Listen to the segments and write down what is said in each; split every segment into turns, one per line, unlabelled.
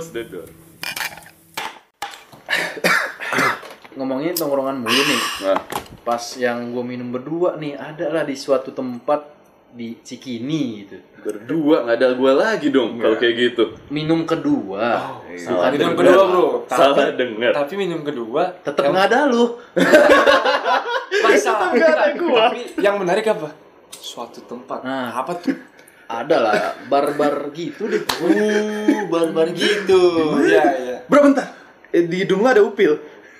sededur.
ngomongin tongkrongan mulu nih
Nah,
pas yang gue minum berdua nih ada lah di suatu tempat di Cikini gitu
berdua nggak ada gue lagi dong kalau kayak gitu.
minum kedua
salah
Bukan
iya. minum
dengar.
kedua bro
Salah
tapi,
denger.
tapi minum kedua
tetep nggak ada lu
masalah
nggak ada gua.
tapi yang menarik apa suatu tempat
Nah.
apa tuh
ada lah barbar gitu deh
Uh, barbar gitu.
iya iya
Bro bentar. Eh, di hidung lu ada upil.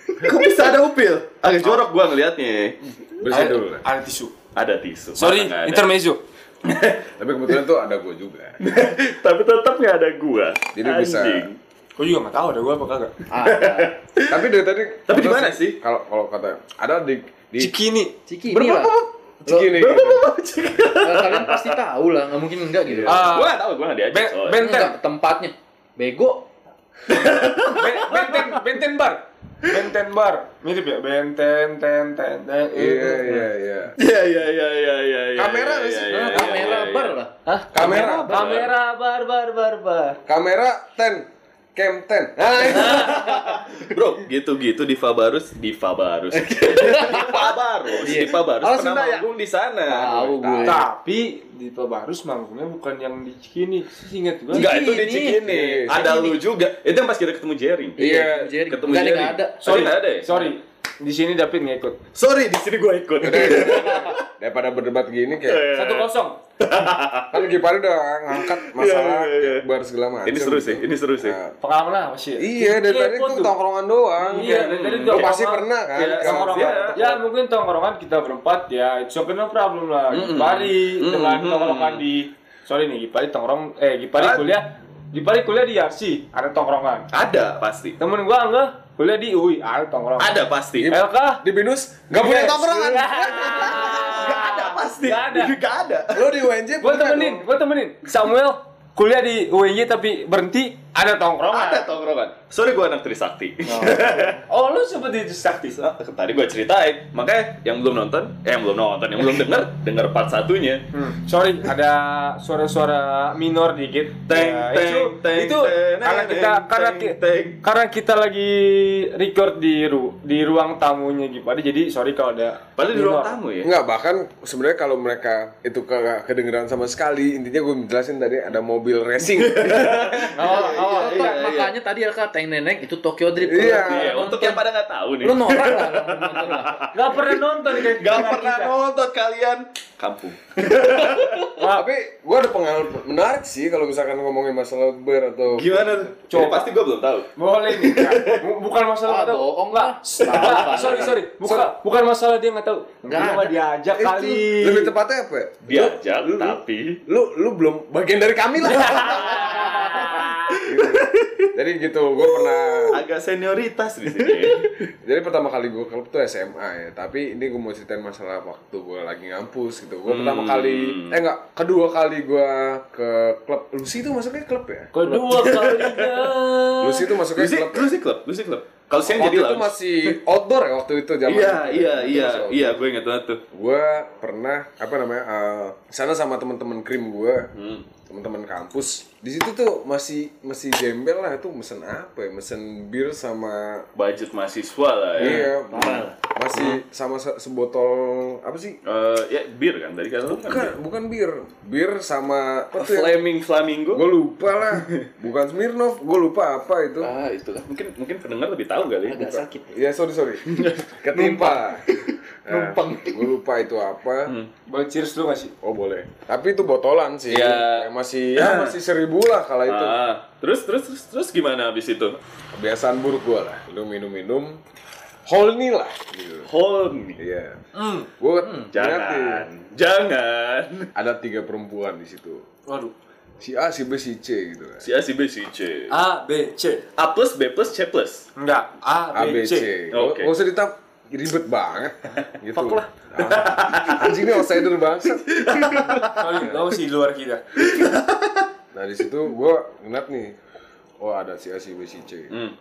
Kok bisa ada upil? Agak Ah, jorok gua ngelihatnya.
Bersihin dulu lah.
ada tisu
Ada tisu.
sorry
Masa nggak ada?
intermezzo
Tapi kebetulan tuh ada gue juga.
Tapi tetap nggak ada gua.
Jadi bisa.
gue juga nggak tahu ada gue apa kagak
ada
Tapi dari tadi.
Tapi di mana sih?
Kalau kalau kata ada di di
cikini
Cikini lah
Cikini.
kalian pasti tahu lah nggak mungkin enggak gitu
Ah,
Gua nggak tahu, gua nggak diajak.
Ben-
soalnya.
Ben- benteng.
Enggak, tempatnya bego
Ben- benten benten bar benten bar mirip ya benten ten ten ten
Iya iya iya.
Iya iya iya iya iya. iya,
Kamera
iya,
nggak sih?
iya,
Nah,
iya,
kamera
iya,
bar
iya.
lah
Hah?
Kamera.
kamera bar bar bar bar
Kamera ten. Cam ten. Nah, itu.
Bro, gitu-gitu di Fabarus, di Fabarus. di Fabarus, di Fabarus
Alas
pernah
Sunda ya?
manggung di sana.
tahu gue
tapi di Pebarus manggungnya bukan yang di Cikini singkat gue
Enggak, itu di
Cikini.
Cikini. Ada lu juga. Itu yang pas kita ketemu Jerry.
Iya.
Jerry
Ketemu
enggak
Jerry.
enggak ada
Sorry, enggak ada ya?
sorry di sini David nggak ikut
Sorry, di sini gua ikut.
Daripada berdebat gini kayak
Eh.
satu kosong
kan Gipari udah ngangkat masalah
Iya, iya, iya.
bar segala macam.
Ini seru sih, ini seru sih.
Nah,
pengalaman lah masih
Iya, dari tadi
Kepo
tuh
tuh.
tongkrongan doang.
Iya, dari tadi
Lu
tongkrongan.
pasti pernah kan?
Iya,
ke-
tongkrongan.
Iya.
Ya mungkin tongkrongan kita berempat ya, it's okay no problem lah.
Mm-mm.
Gipari
Mm-mm.
dengan tongkrongan di, sorry nih Gipari tongkrong, eh Gipari
Ah.
kuliah, Gipari kuliah di Yarsi, ada tongkrongan.
Ada pasti.
Temen gua enggak kuliah di UI, ada tongkrongan.
Ada pasti.
Elka,
Di Binus nggak
Iya.
punya tongkrongan.
Gak ada pasti.
Gak ada.
Gak ada.
Lu di UNJ
Gua
punya
temenin,
dong.
gua temenin. Samuel kuliah di UNY tapi berhenti, ada
Ada
tongkrongan.
tongkrongan. Sorry gua anak Trisakti.
Oh, lu seperti itu sakti.
Ah, Tadi gua ceritain, makanya yang belum nonton, eh yang belum nonton, yang belum denger, denger part satunya.
Hmm, sorry, ada suara-suara minor dikit.
Teng,
Ya,
teng,
itu,
teng,
itu
teng,
karena
teng,
kita
teng,
karena
teng,
ki-
teng.
karena kita lagi record di ru di ruang tamunya Gipari. Jadi sorry kalau ada.
Padahal di ruang
minor.
tamu ya.
Enggak, bahkan sebenarnya kalau mereka itu ke kedengeran sama sekali, intinya gue jelasin tadi ada mobil racing.
Oh, oh,
iya,
Tok,
iya.
makanya tadi Elka Teng Neneng itu Tokyo Drift.
Iya.
Iya, untuk yang pada nggak tahu nih.
Lu norak lah lu nonton lah.
Nggak pernah nonton kan? kayak
Gak
kita.
pernah nonton kalian kampung.
Tapi gue ada pengalaman menarik sih kalau misalkan ngomongin masalah bar atau
Gimana tuh? Coba pasti gua belum tahu.
Boleh nih. Kak. Bu- Bukan masalah
Ah,
nggak tahu.
bohong
Nggak.
lah.
Nggak, sorry, sorry. Bukan bukan masalah dia nggak tahu.
Nggak
Mungkin
ada.
nggak diajak
Eh,
kali.
itu lebih tepatnya apa ya?
Diajak
Lu- lu-
Iya, tapi
Lu lu belum bagian dari kami lah. Gitu. Jadi gitu, gue pernah
agak senioritas di sini.
Jadi pertama kali gue klub tuh SMA ya, tapi ini gue mau ceritain masalah waktu gue lagi ngampus gitu. Gue
Hmm.
pertama kali, eh enggak, kedua kali gue ke klub. Lucy itu masuknya klub ya?
Kedua kalinya.
Lucy itu masuknya
Lucy,
klub.
Lucy Club, Lucy Club. Kalau siang
waktu
jadi
itu
lah.
masih outdoor ya waktu itu zaman.
Iya, iya, iya, iya, gue ingat banget tuh.
Gue pernah apa namanya? eh, sana sama teman-teman krim gue,
Hmm.
teman-teman kampus. Di situ tuh masih masih jembel lah itu mesen apa ya? Mesen bir sama
Budget mahasiswa lah Hmm. ya.
iya, masih sama se- sebotol apa sih?
Eh, ya bir kan tadi kan lu kan bir.
Bukan, bukan bir. Bir sama apa tuh ya?
Flaming Flamingo.
Gue lupa lah. Bukan Smirnoff, gue lupa apa itu.
Ah, itu lah. Mungkin mungkin pendengar lebih tahu kali.
Agak sakit.
Ya sorry sorry. Ketimpa.
Numpang.
gue lupa itu apa.
Boleh cheers dulu nggak sih?
Oh boleh. Tapi itu botolan sih.
Iya.
Ya, masih ya masih seribu lah kala itu.
Ah, terus terus terus terus gimana habis itu?
Kebiasaan buruk gua lah. Lu minum-minum holni lah. Gitu.
Horny.
Iya.
Hmm.
Gua lihat
Hmm, Jangan.
nih,
Jangan.
ada tiga perempuan di situ.
Waduh.
Si A, si B, si C gitu kan.
Si A, si B, si C.
A B C.
A plus B plus C plus.
Enggak, A
A, B, C. Gak
Oke.
Gak usah ditap ribet banget gitu.
Fuck lah.
Ah, Anjing ini outsider banget.
Sorry, kamu sih di luar kita.
Nah, di situ gua ngeliat nih. Oh, ada si A, si B, si C.
Hmm.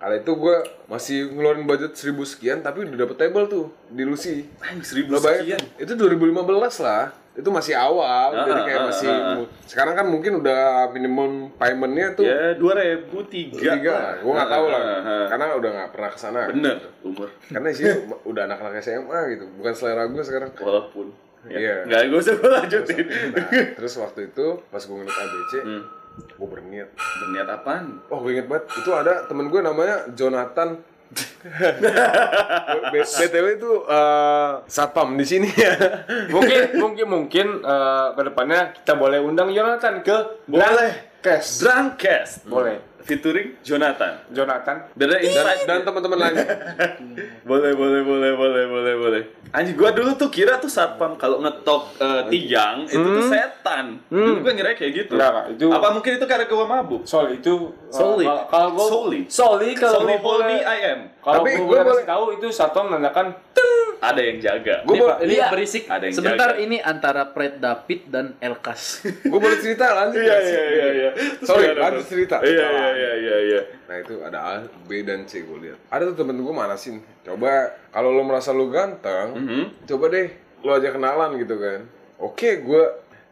Kala itu gua masih ngeluarin budget seribu sekian tapi udah dapet table tuh di Lucy.
Anjing seribu
Lo bayangin,
sekian.
itu 2015 lah. itu masih awal
Ah,
jadi kayak
ah,
masih
ah, ah.
sekarang kan mungkin udah minimum paymentnya tuh
ya dua ribu tiga Ah,
tiga lah gue nggak tahu lah
karena
karena udah nggak pernah kesana
bener umur
karena sih udah anak-anak SMA gitu bukan selera gue sekarang
walaupun
Iya.
ya nggak gue usah gua lanjutin
Nah, terus waktu itu pas gue ngeliat ABC
hmm.
gue berniat
berniat apaan
oh gue inget banget itu ada temen gue namanya Jonathan B- btw itu eh, satpam di sini ya
mungkin mungkin mungkin eh, ke depannya kita boleh undang Jonathan ke
Boleh.
Kes
Drunkcast
Boleh.
featuring Jonathan
Jonathan
dan ada
dan,
insight
dan teman-teman lain
Iya. boleh boleh boleh boleh boleh boleh anjing gua dulu tuh kira tuh satpam kalau ngetok eh, tiang itu tuh setan dulu gua ngira kayak gitu
Enggak, Kak. Itu-
apa mungkin itu karena gua mabuk
Sol itu eh,
Soli.
kalau- kalau gua
Soli.
Soli kalau
Sorry
gua boleh
Polni I am
kalau
Tapi
gua
gua
boleh kasih
boleh-
tahu itu satu menandakan
ada yang jaga
gue
Ini,
boleh
Pak, ini
Iya.
berisik.
Ada yang
Sebentar
jaga.
ini antara Fred David dan Elkas.
gue boleh cerita lanjut ya.
iya
nggak sih?
iya iya iya Terus
Sorry,
gimana,
lanjut
Bro?
cerita.
iya iya iya iya iya
Nah itu ada A, B dan C gue lihat. Ada tuh temen gue manasin. Coba kalau lo merasa lo ganteng,
Mhm.
coba deh lo aja kenalan gitu kan. Oke gue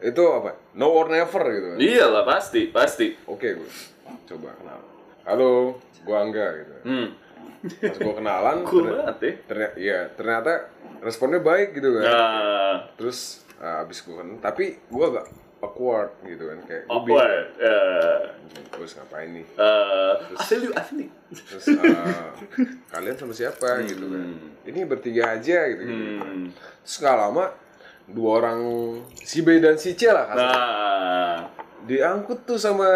itu apa? No or never gitu kan.
iya lah pasti pasti
Oke gue coba kenalan. Halo, gue Angga gitu.
hmm
Pas gue kenalan,
cool
ternyata,
banget ya
ternyata, iya, ternyata responnya baik gitu kan.
nah
Terus ah, abis gue kenal, tapi gue agak awkward gitu kan kayak
Oh.
gua bingung.
awkward ya? Eh,
Gua harus ngapain nih?
eh, I feel you I feel you
Terus ah, kalian sama siapa gitu kan? Ini bertiga aja gitu. gitu, gitu.
Hmm.
Terus gak lama dua orang si B dan si C lah kasar.
nah
Diangkut tuh sama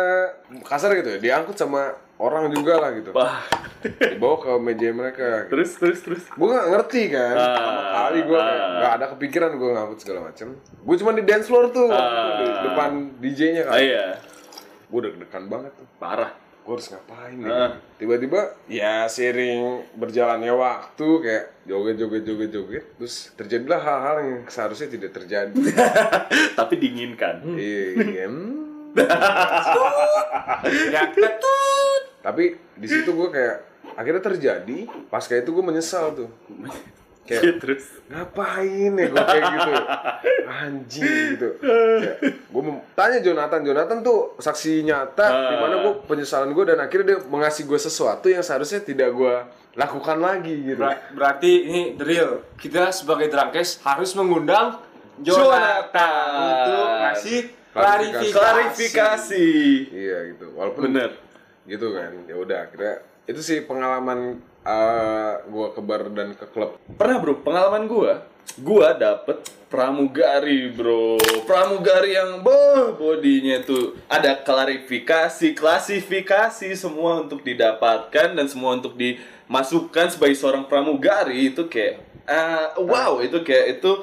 kasar gitu ya, diangkut sama orang juga lah gitu.
wah
Dibawa ke meja mereka. Gitu.
terus terus terus
Gue gak ngerti kan,
Ah,
pertama kali gue
ah.
gak ada kepikiran gue ngangkut segala macem. Gue cuma di dance floor tuh, waktu itu, di
Ah.
depan DJ-nya kan.
ah, iya
Gue deg-degan banget tuh.
parah
Gue harus ngapain nih?
Ah.
Tiba-tiba ya sering berjalannya waktu kayak joget-joget-joget-joget. Terus terjadilah hal-hal yang seharusnya tidak terjadi.
tapi diinginkan
Iya. hmm.
ya tetut.
Tapi di situ gue kayak akhirnya terjadi. Pas kayak itu gue menyesal tuh.
Iya,
Kayak
terus
ngapain ya gue kayak gitu anjing gitu gue tanya Jonathan Jonathan tuh saksi nyata
Ah.
dimana gue penyesalan gue dan akhirnya dia mengasih gue sesuatu yang seharusnya tidak gue lakukan lagi gitu
Ber- berarti ini the real. Kita sebagai Drunkes harus mengundang Jonathan,
Jonathan.
untuk ngasih
Klarifikasi.
klarifikasi.
klarifikasi
iya gitu walaupun
bener
gitu kan ya udah akhirnya itu sih pengalaman eh, gue ke bar dan ke klub
pernah bro pengalaman gua gua dapet pramugari bro pramugari yang beh bodinya tuh ada klarifikasi klasifikasi semua untuk didapatkan dan semua untuk dimasukkan sebagai seorang pramugari itu kayak ah, wow itu kayak itu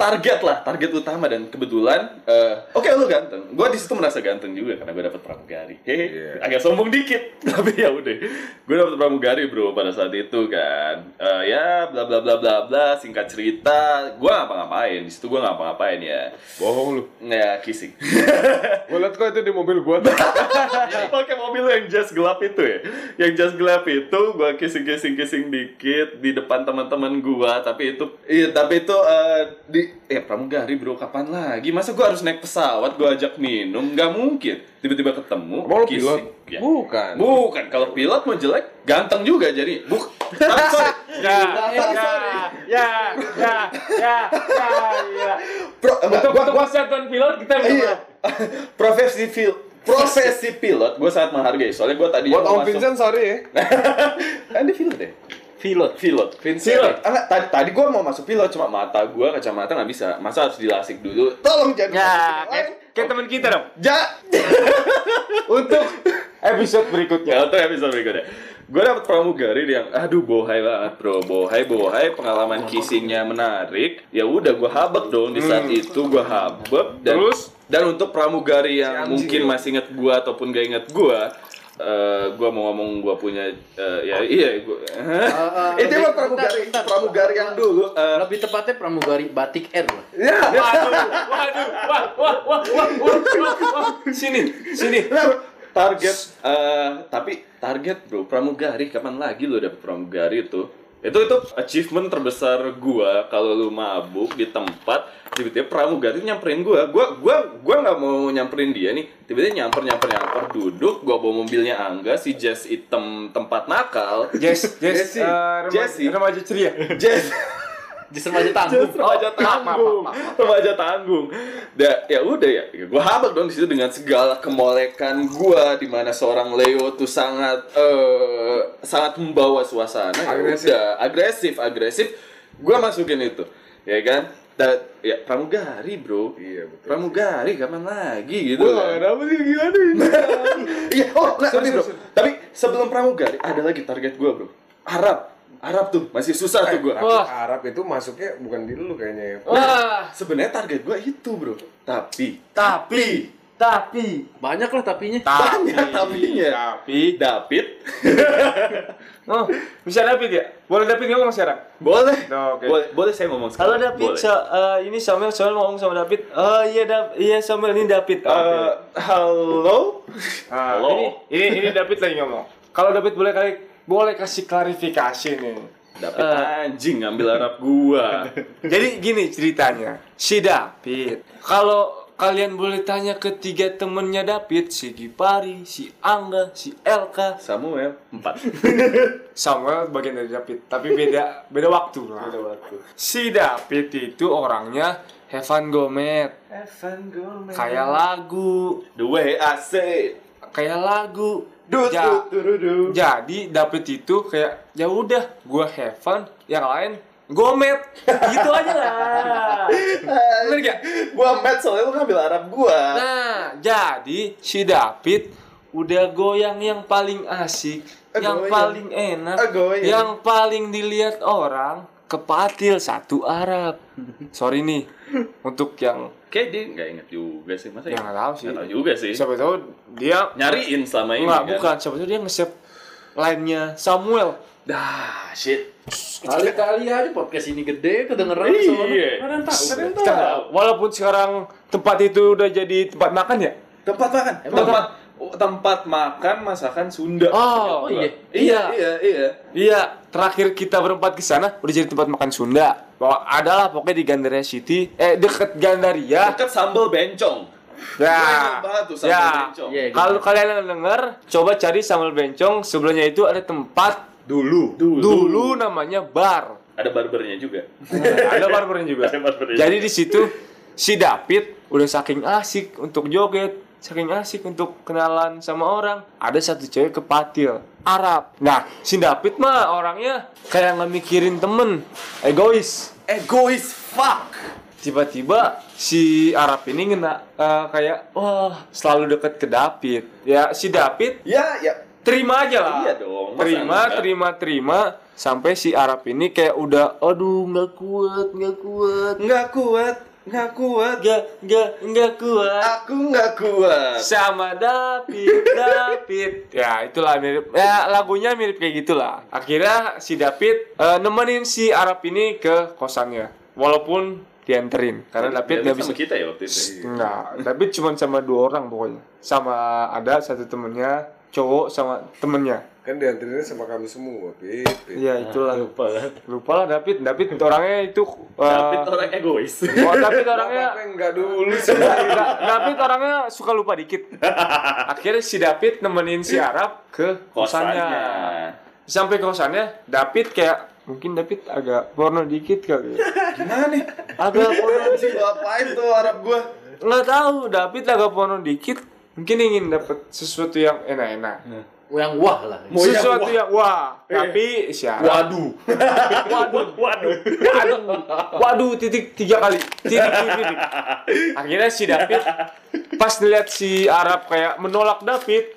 target lah target utama dan kebetulan eh, oke lu ganteng gue di situ merasa ganteng juga karena gue dapet pramugari hehe
Iya.
agak sombong dikit tapi ya udah gue dapet pramugari bro pada saat itu kan Eh, ya bla bla bla bla bla singkat cerita gue ngapa ngapain di situ gue ngapa ngapain ya
bohong lu
ya kissing
gue liat kok itu di mobil gue
pakai mobil yang jas gelap itu ya yang jas gelap itu gua kissing kissing kissing dikit di depan teman-teman gua tapi itu iya tapi itu eh, di eh pramugari bro kapan lagi masa gua harus naik pesawat gua ajak minum nggak mungkin tiba-tiba ketemu
Emang lu pilot?
Ya.
Bukan.
bukan kalau pilot mau jelek ganteng juga jadi buk Sorry, sorry.
Ya, ya, ya, ya, ya, ya, ya.
Pro- enggak,
Untuk
gua-
untuk
gua-
kesatuan pilot kita
iya. profesi pilot profesi pilot gua sangat menghargai soalnya gua tadi
buat
mau Iya,
Om
masuk-
Vincent sorry ya
kan dia pilot ya
Pilot.
pilot
Vincent.
Pilot. Ah, enggak, tadi, tadi gue mau masuk pilot cuma mata gue kacamata nggak bisa masa harus dilasik dulu tolong jangan masukin yang
Ya, kayak,
lain.
kayak teman kita dong.
ja
Untuk episode berikutnya.
ya itu episode berikutnya gue dapet pramugari yang aduh bohai banget bro bohai bohai pengalaman kissingnya menarik ya udah gue habek dong di saat itu gue habek dan
Terus?
dan untuk pramugari yang
anjing
mungkin
lu.
masih inget gue ataupun gak inget gue eh gue mau ngomong gue punya eh, ya iya gue itu
lebih-
mah pramugari
bentar, bentar.
pramugari yang dulu eh,
Lebih tepatnya pramugari batik air lah.
Waduh, waduh, wah, wah, wah, wah, wah, wah, wah. Sini, sini.
target eh tapi target bro pramugari kapan lagi lo dapet pramugari itu itu itu achievement terbesar gua kalau lu mabuk di tempat tiba-tiba pramugari nyamperin gua gua gua gua nggak mau nyamperin dia nih tiba-tiba nyamper nyamper nyamper duduk gua bawa mobilnya angga si jazz item tempat nakal
Jess, Jess,
Jesse,
eh, remaja-
Jesse.
remaja ceria.
jazz
Justru aja tanggung.
Jazz
Oh,
remaja tanggung remaja tanggung da ya udah ya Ya, gua habak dong di situ dengan segala kemolekan gua di mana seorang Leo tuh sangat eh sangat membawa suasana Ya
Agresif.
udah, agresif agresif gua masukin itu ya kan Da- ya pramugari bro
Iya, betul.
pramugari kapan lagi gitu
Gue
kan.
gak kenapa sih gimana ini?
Iya, oh, nah,
Sorry,
tapi bro,
sorry,
tapi sebelum pramugari ada lagi target gua bro. Arab, Arab tuh masih susah tuh gua.
Tapi Arab itu masuknya bukan di lu kayaknya ya.
Wah,
Sebenarnya target gua itu bro, tapi tapi
tapi banyak lah tapinya.
banyak ya tapinya.
Tapi,
David,
oh, bisa David ya? Boleh David ngomong sekarang?
boleh,
Oke.
boleh, boleh saya ngomong sekarang.
Halo David,
Boleh.
Sa- eh, ini Samuel, Samuel ngomong sama David. Oh iya Dap, iya Samuel ini David. Oke.
Eh, halo,
Ah,
halo.
Ini, ini, ini David lagi ngomong. Kalau David boleh kali boleh kasih klarifikasi nih.
David
Eh.
anjing ngambil Arab gua.
Jadi gini ceritanya, si David. Kalau kalian boleh tanya ke tiga temennya David, si Gipari, si Angga, si Elka,
Samuel empat.
Samuel bagian dari David, tapi beda beda waktu lah. Si David itu orangnya Evan Gomez, kayak lagu,
The way I say, it.
kayak lagu.
du
Ja-
du du du, du.
jadi David itu kayak ya udah gua have fun yang lain gomet gitu aja lah bener gak?
Gua mad soalnya lu ngambil Arab gua.
nah jadi si David udah goyang yang paling asik
Eh,
yang
goyang.
paling enak
Eh, goyang.
yang paling dilihat orang kepatil satu Arab sorry nih untuk yang
Kayak dia nggak inget juga sih masa
Ya, nggak tahu sih.
Nggak tahu juga sih.
siapa tahu dia
Nyariin selama ini.
nggak
kan?
bukan siapa tahu dia nge-save lainnya Samuel
Dah, shit.
Kali-kali aja podcast ini gede kedengeran sama
Iya.
orang tahu. Ada yang
Kita
tahu.
nggak- walaupun sekarang tempat itu udah jadi tempat makan ya?
Tempat makan.
Emang
tempat oh, tempat makan masakan Sunda.
Oh,
Oh,
iya.
Iya,
iya.
iya, iya.
Iya, terakhir kita berempat ke sana udah jadi tempat makan Sunda. Bahwa adalah pokoknya di Gandaria City, eh deket Gandaria.
Dekat sambal bencong.
Ya.
Banyak banget tuh sambal
Ya.
bencong.
Iya.
Kalau kalian yang denger, coba cari sambal bencong, sebelahnya itu ada tempat
Dulu.
Dulu.
dulu namanya bar.
Ada barbernya juga.
ada barbernya juga.
Ada barbernya.
Jadi di situ si David udah saking asik untuk joget, saking asik untuk kenalan sama orang, ada satu cewek kepatil Arab. Nah, si David mah orangnya kayak nggak mikirin temen, egois.
Egois fuck.
Tiba-tiba si Arab ini ngena eh, kayak wah selalu deket ke David. Ya si David
Ya, ya.
terima aja lah.
Iya dong, masa
Terima,
enggak?
terima, terima sampai si Arab ini kayak udah aduh nggak kuat, nggak kuat.
Nggak kuat, nggak kuat.
Nggak, nggak, nggak kuat.
Aku nggak kuat.
Sama David, David. Ya, itulah mirip. Ya, lagunya mirip kayak gitulah. Akhirnya si David eh, nemenin si Arab ini ke kosannya. Walaupun dianterin karena David
Dia
nggak
sama
bisa.
kita ya waktu itu.
Enggak, David cuma sama dua orang pokoknya. Sama ada satu temennya cowok sama temennya.
Kan dianterinnya sama kami semua, Pip.
Iya, itulah. Lupa lah. Lupa lah David. David orangnya itu eh,
David orang egois.
Oh, David orangnya
Apa enggak dulu sih?
Da- David orangnya suka lupa dikit. Akhirnya si David nemenin si Arab ke kosannya.
Kosannya.
Sampai kosannya, David kayak mungkin David agak porno dikit kali. ya.
Gimana nih?
Agak porno.
Apaan sih? Ngapain tuh Arab gua?
Nggak tahu, David agak porno dikit. Mungkin ingin dapat sesuatu yang enak-enak.
Yang wah lah.
Mau yang
sesuatu
wah.
yang wah. Tapi si Arab
Waduh. Waduh. Waduh.
Waduh, waduh, titik tiga kali, titik, titik, titik. Akhirnya si David pas dilihat si Arab kayak menolak David,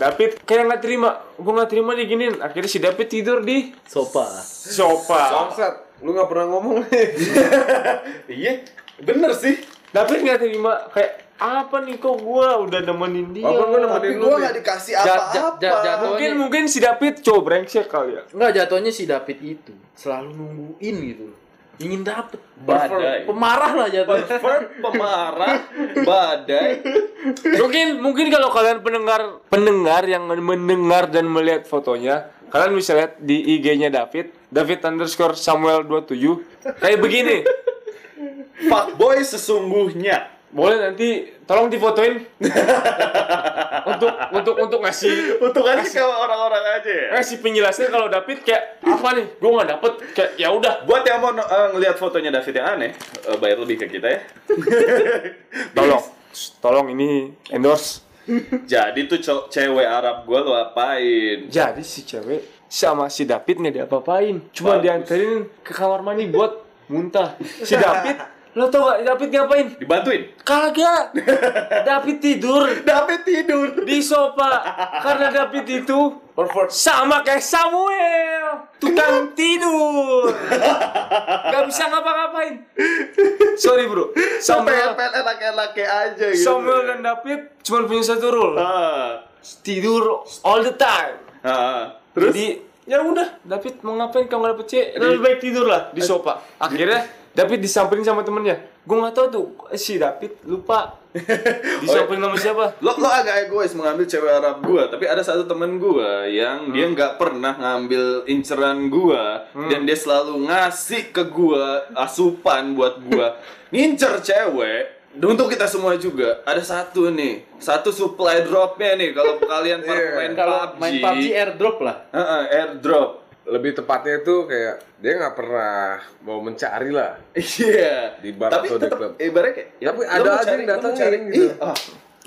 David kayak nggak terima, gua nggak terima diginin. Akhirnya si David tidur di
Sopa.
sofa.
Bangsat, lu gak pernah ngomong nih.
Iya, bener sih.
David nggak terima kayak apa nih kok gua udah nemenin dia.
Apa gua
Iya, Tapi
nemenin lu?
gua
Pip?
nggak dikasih
Ja- ja-
apa-apa.
ja- jatuh.
Mungkin mungkin si David cowok brengsek kali ya.
Enggak jatuhnya si David itu selalu nungguin gitu. Ingin dapet.
Badai.
Pemarah lah jatuhnya.
Pervert, pemarah, badai.
mungkin mungkin kalau kalian pendengar pendengar yang mendengar dan melihat fotonya kalian bisa lihat di IG-nya David David underscore Samuel 27 Kayak begini
Fuckboy sesungguhnya.
Boleh nanti tolong difotoin Untuk untuk untuk ngasih
Untungannya ke orang-orang aja ya.
ngasih penjelasan kalau David kayak apa nih gue nggak dapet kayak ya udah
Buat yang mau eh, ngelihat fotonya David yang aneh, eh, bayar lebih ke kita ya.
tolong tolong ini endorse
Jadi tuh co- cewek Arab gue lu apain?
jadi si cewek sama si David nggak diapa-apain cuma
Bagus.
dianterin ke kamar mandi buat muntah si David lo tau gak David ngapain
Dibantuin.
kagak David tidur
David tidur.
di sofa karena David itu sama kayak Samuel tukang tidur nggak bisa ngapa-ngapain sorry bro
Sampai
Samuel
LPL enak-enaknya aja gitu.
Samuel dan David cuma punya satu rule
Ah,
tidur all the time
ah, ah. Terus
Jadi ya udah David mau ngapain kalau nggak dapet C lebih baik tidur lah di sofa. Akhirnya David disamperin sama temennya. Gue nggak tahu tuh eh, si David lupa disamperin sama siapa.
lo lo agak egois mengambil cewek Arab gue, tapi ada satu temen gue yang
Hmm.
dia nggak pernah ngambil inceran gue dan dia selalu ngasih ke gue asupan buat gue ngincer cewek. Untuk kita semua juga ada satu nih, satu supply dropnya nih kalau kalian pernah
Iya.
main
Kalau
PUBG,
main PUBG airdrop lah.
Heeh, airdrop.
lebih tepatnya itu kayak dia nggak pernah mau mencari lah
Iya.
Di bar
tapi
atau di
tetap
klub.
ibaratnya kayak ya,
Tapi
lo
ada
mau
aja
cari,
yang datang
lo mau
cariin
cari.
gitu.
Ih, ah,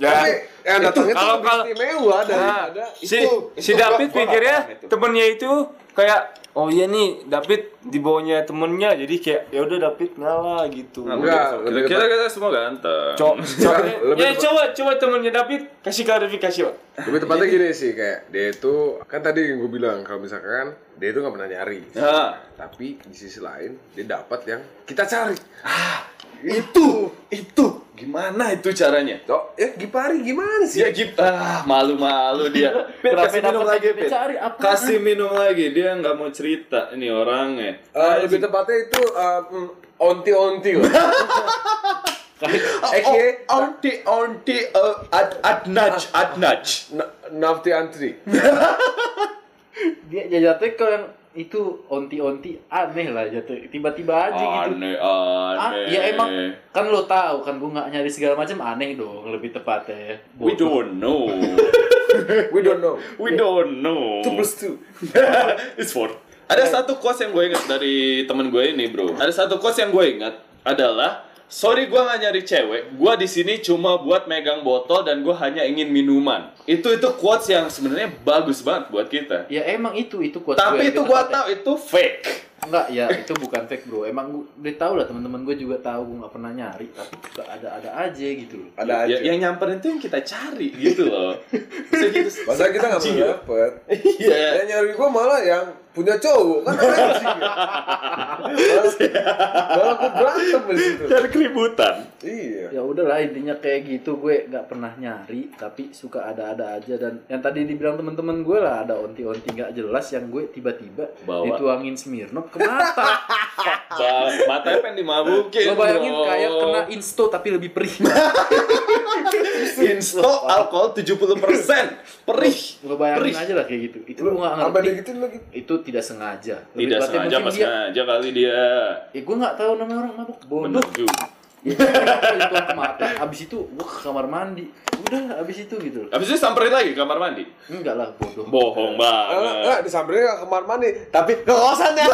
tapi yang datangnya tuh
Ya. kalau-
lebih
kalau-
istimewa
Nah,
daripada
si
itu-
si
itu gua-
David
gua nggak
pikirnya
paham itu.
temennya itu kayak oh iya nih David di bawahnya temennya jadi kayak ya udah David ngalah gitu.
Enggak, lebih
Kira-kira kita semua ganteng.
Co- soalnya-
Lebih
ya
tepat-
coba coba temennya David kasih klarifikasi pak.
lebih tepatnya gini sih kayak dia itu kan tadi yang gue bilang kalau misalkan dia itu nggak pernah nyari
Ah,
tapi di sisi lain dia dapat yang kita cari
itu, itu gimana itu caranya?
oh ya Gipari gimana sih
Dia gip, ah malu-malu dia. Pit,
Kenapa
kasih minum
dapat
lagi,
yang
Pit.
dicari, apa?
Kasih minum lagi, dia nggak mau cerita ini orangnya.
Eh, lebih tepatnya itu eh, mm, onti-onti lah
Eh, onti onti eh, ad adnaj adnaj.
Na- Nafti antri.
Dia ya jatuh ke yang itu onti-onti aneh lah jatuh. Tiba-tiba aja gitu.
Aneh aneh.
Ah, ya emang kan lo tahu kan gua nggak nyari segala macam aneh dong lebih tepatnya.
We don't know.
We don't know.
We don't know.
Two plus two.
It's four. Ada satu quotes yang gue ingat dari temen gue ini, bro. Ada satu quotes yang gue ingat adalah Sorry gue gak nyari cewek, gue di sini cuma buat megang botol dan gue hanya ingin minuman. Itu itu quotes yang sebenarnya bagus banget buat kita.
Ya emang itu itu kuat.
Iya,
Tapi itu gue tahu itu fake.
Enggak ya itu bukan fake bro. Emang gue udah tahu lah teman-teman gue juga tahu gue nggak pernah nyari tapi suka ada-ada aja gitu. loh.
Ada
Ya,
aja.
yang nyamperin itu yang kita cari gitu loh. Bisa gitu.
Masa kita nggak pernah dapet.
Iya.
Yang nyari gua malah yang punya cowok kan anjing. Malah- Malah gua berantem di situ.
Cari ya. keributan.
Iya.
Ya udahlah intinya kayak gitu gue nggak pernah nyari tapi suka ada-ada aja dan yang tadi dibilang teman-teman gue lah ada onti-onti nggak jelas yang gue tiba-tiba
Bawa.
dituangin Smirnoff ke mata.
Ba- Matanya pengen dimabukin.
Lo bayangin
bro.
kayak kena insto tapi lebih perih.
Insto alkohol 70% Perih
Lo bayangin
Perih.
aja lah kayak gitu. Itu gue nggak
Sampai
ngerti.
dia gitu lagi.
Itu tidak sengaja. Lebih
Tidak
tepatnya
sengaja
mungkin
pas
dia-
sengaja kali dia
Eh gue nggak tahu namanya orang mabuk. Ya, Bodoh.
menuju
Dituang ke mata. Abis itu gue ke kamar mandi. Udah abis itu gitu. loh.
Abis itu samperin lagi ke kamar mandi
Enggak lah bodoh.
Bohong
Enggak,
banget
enggak disamperin ke kamar mandi, tapi ke kosannya.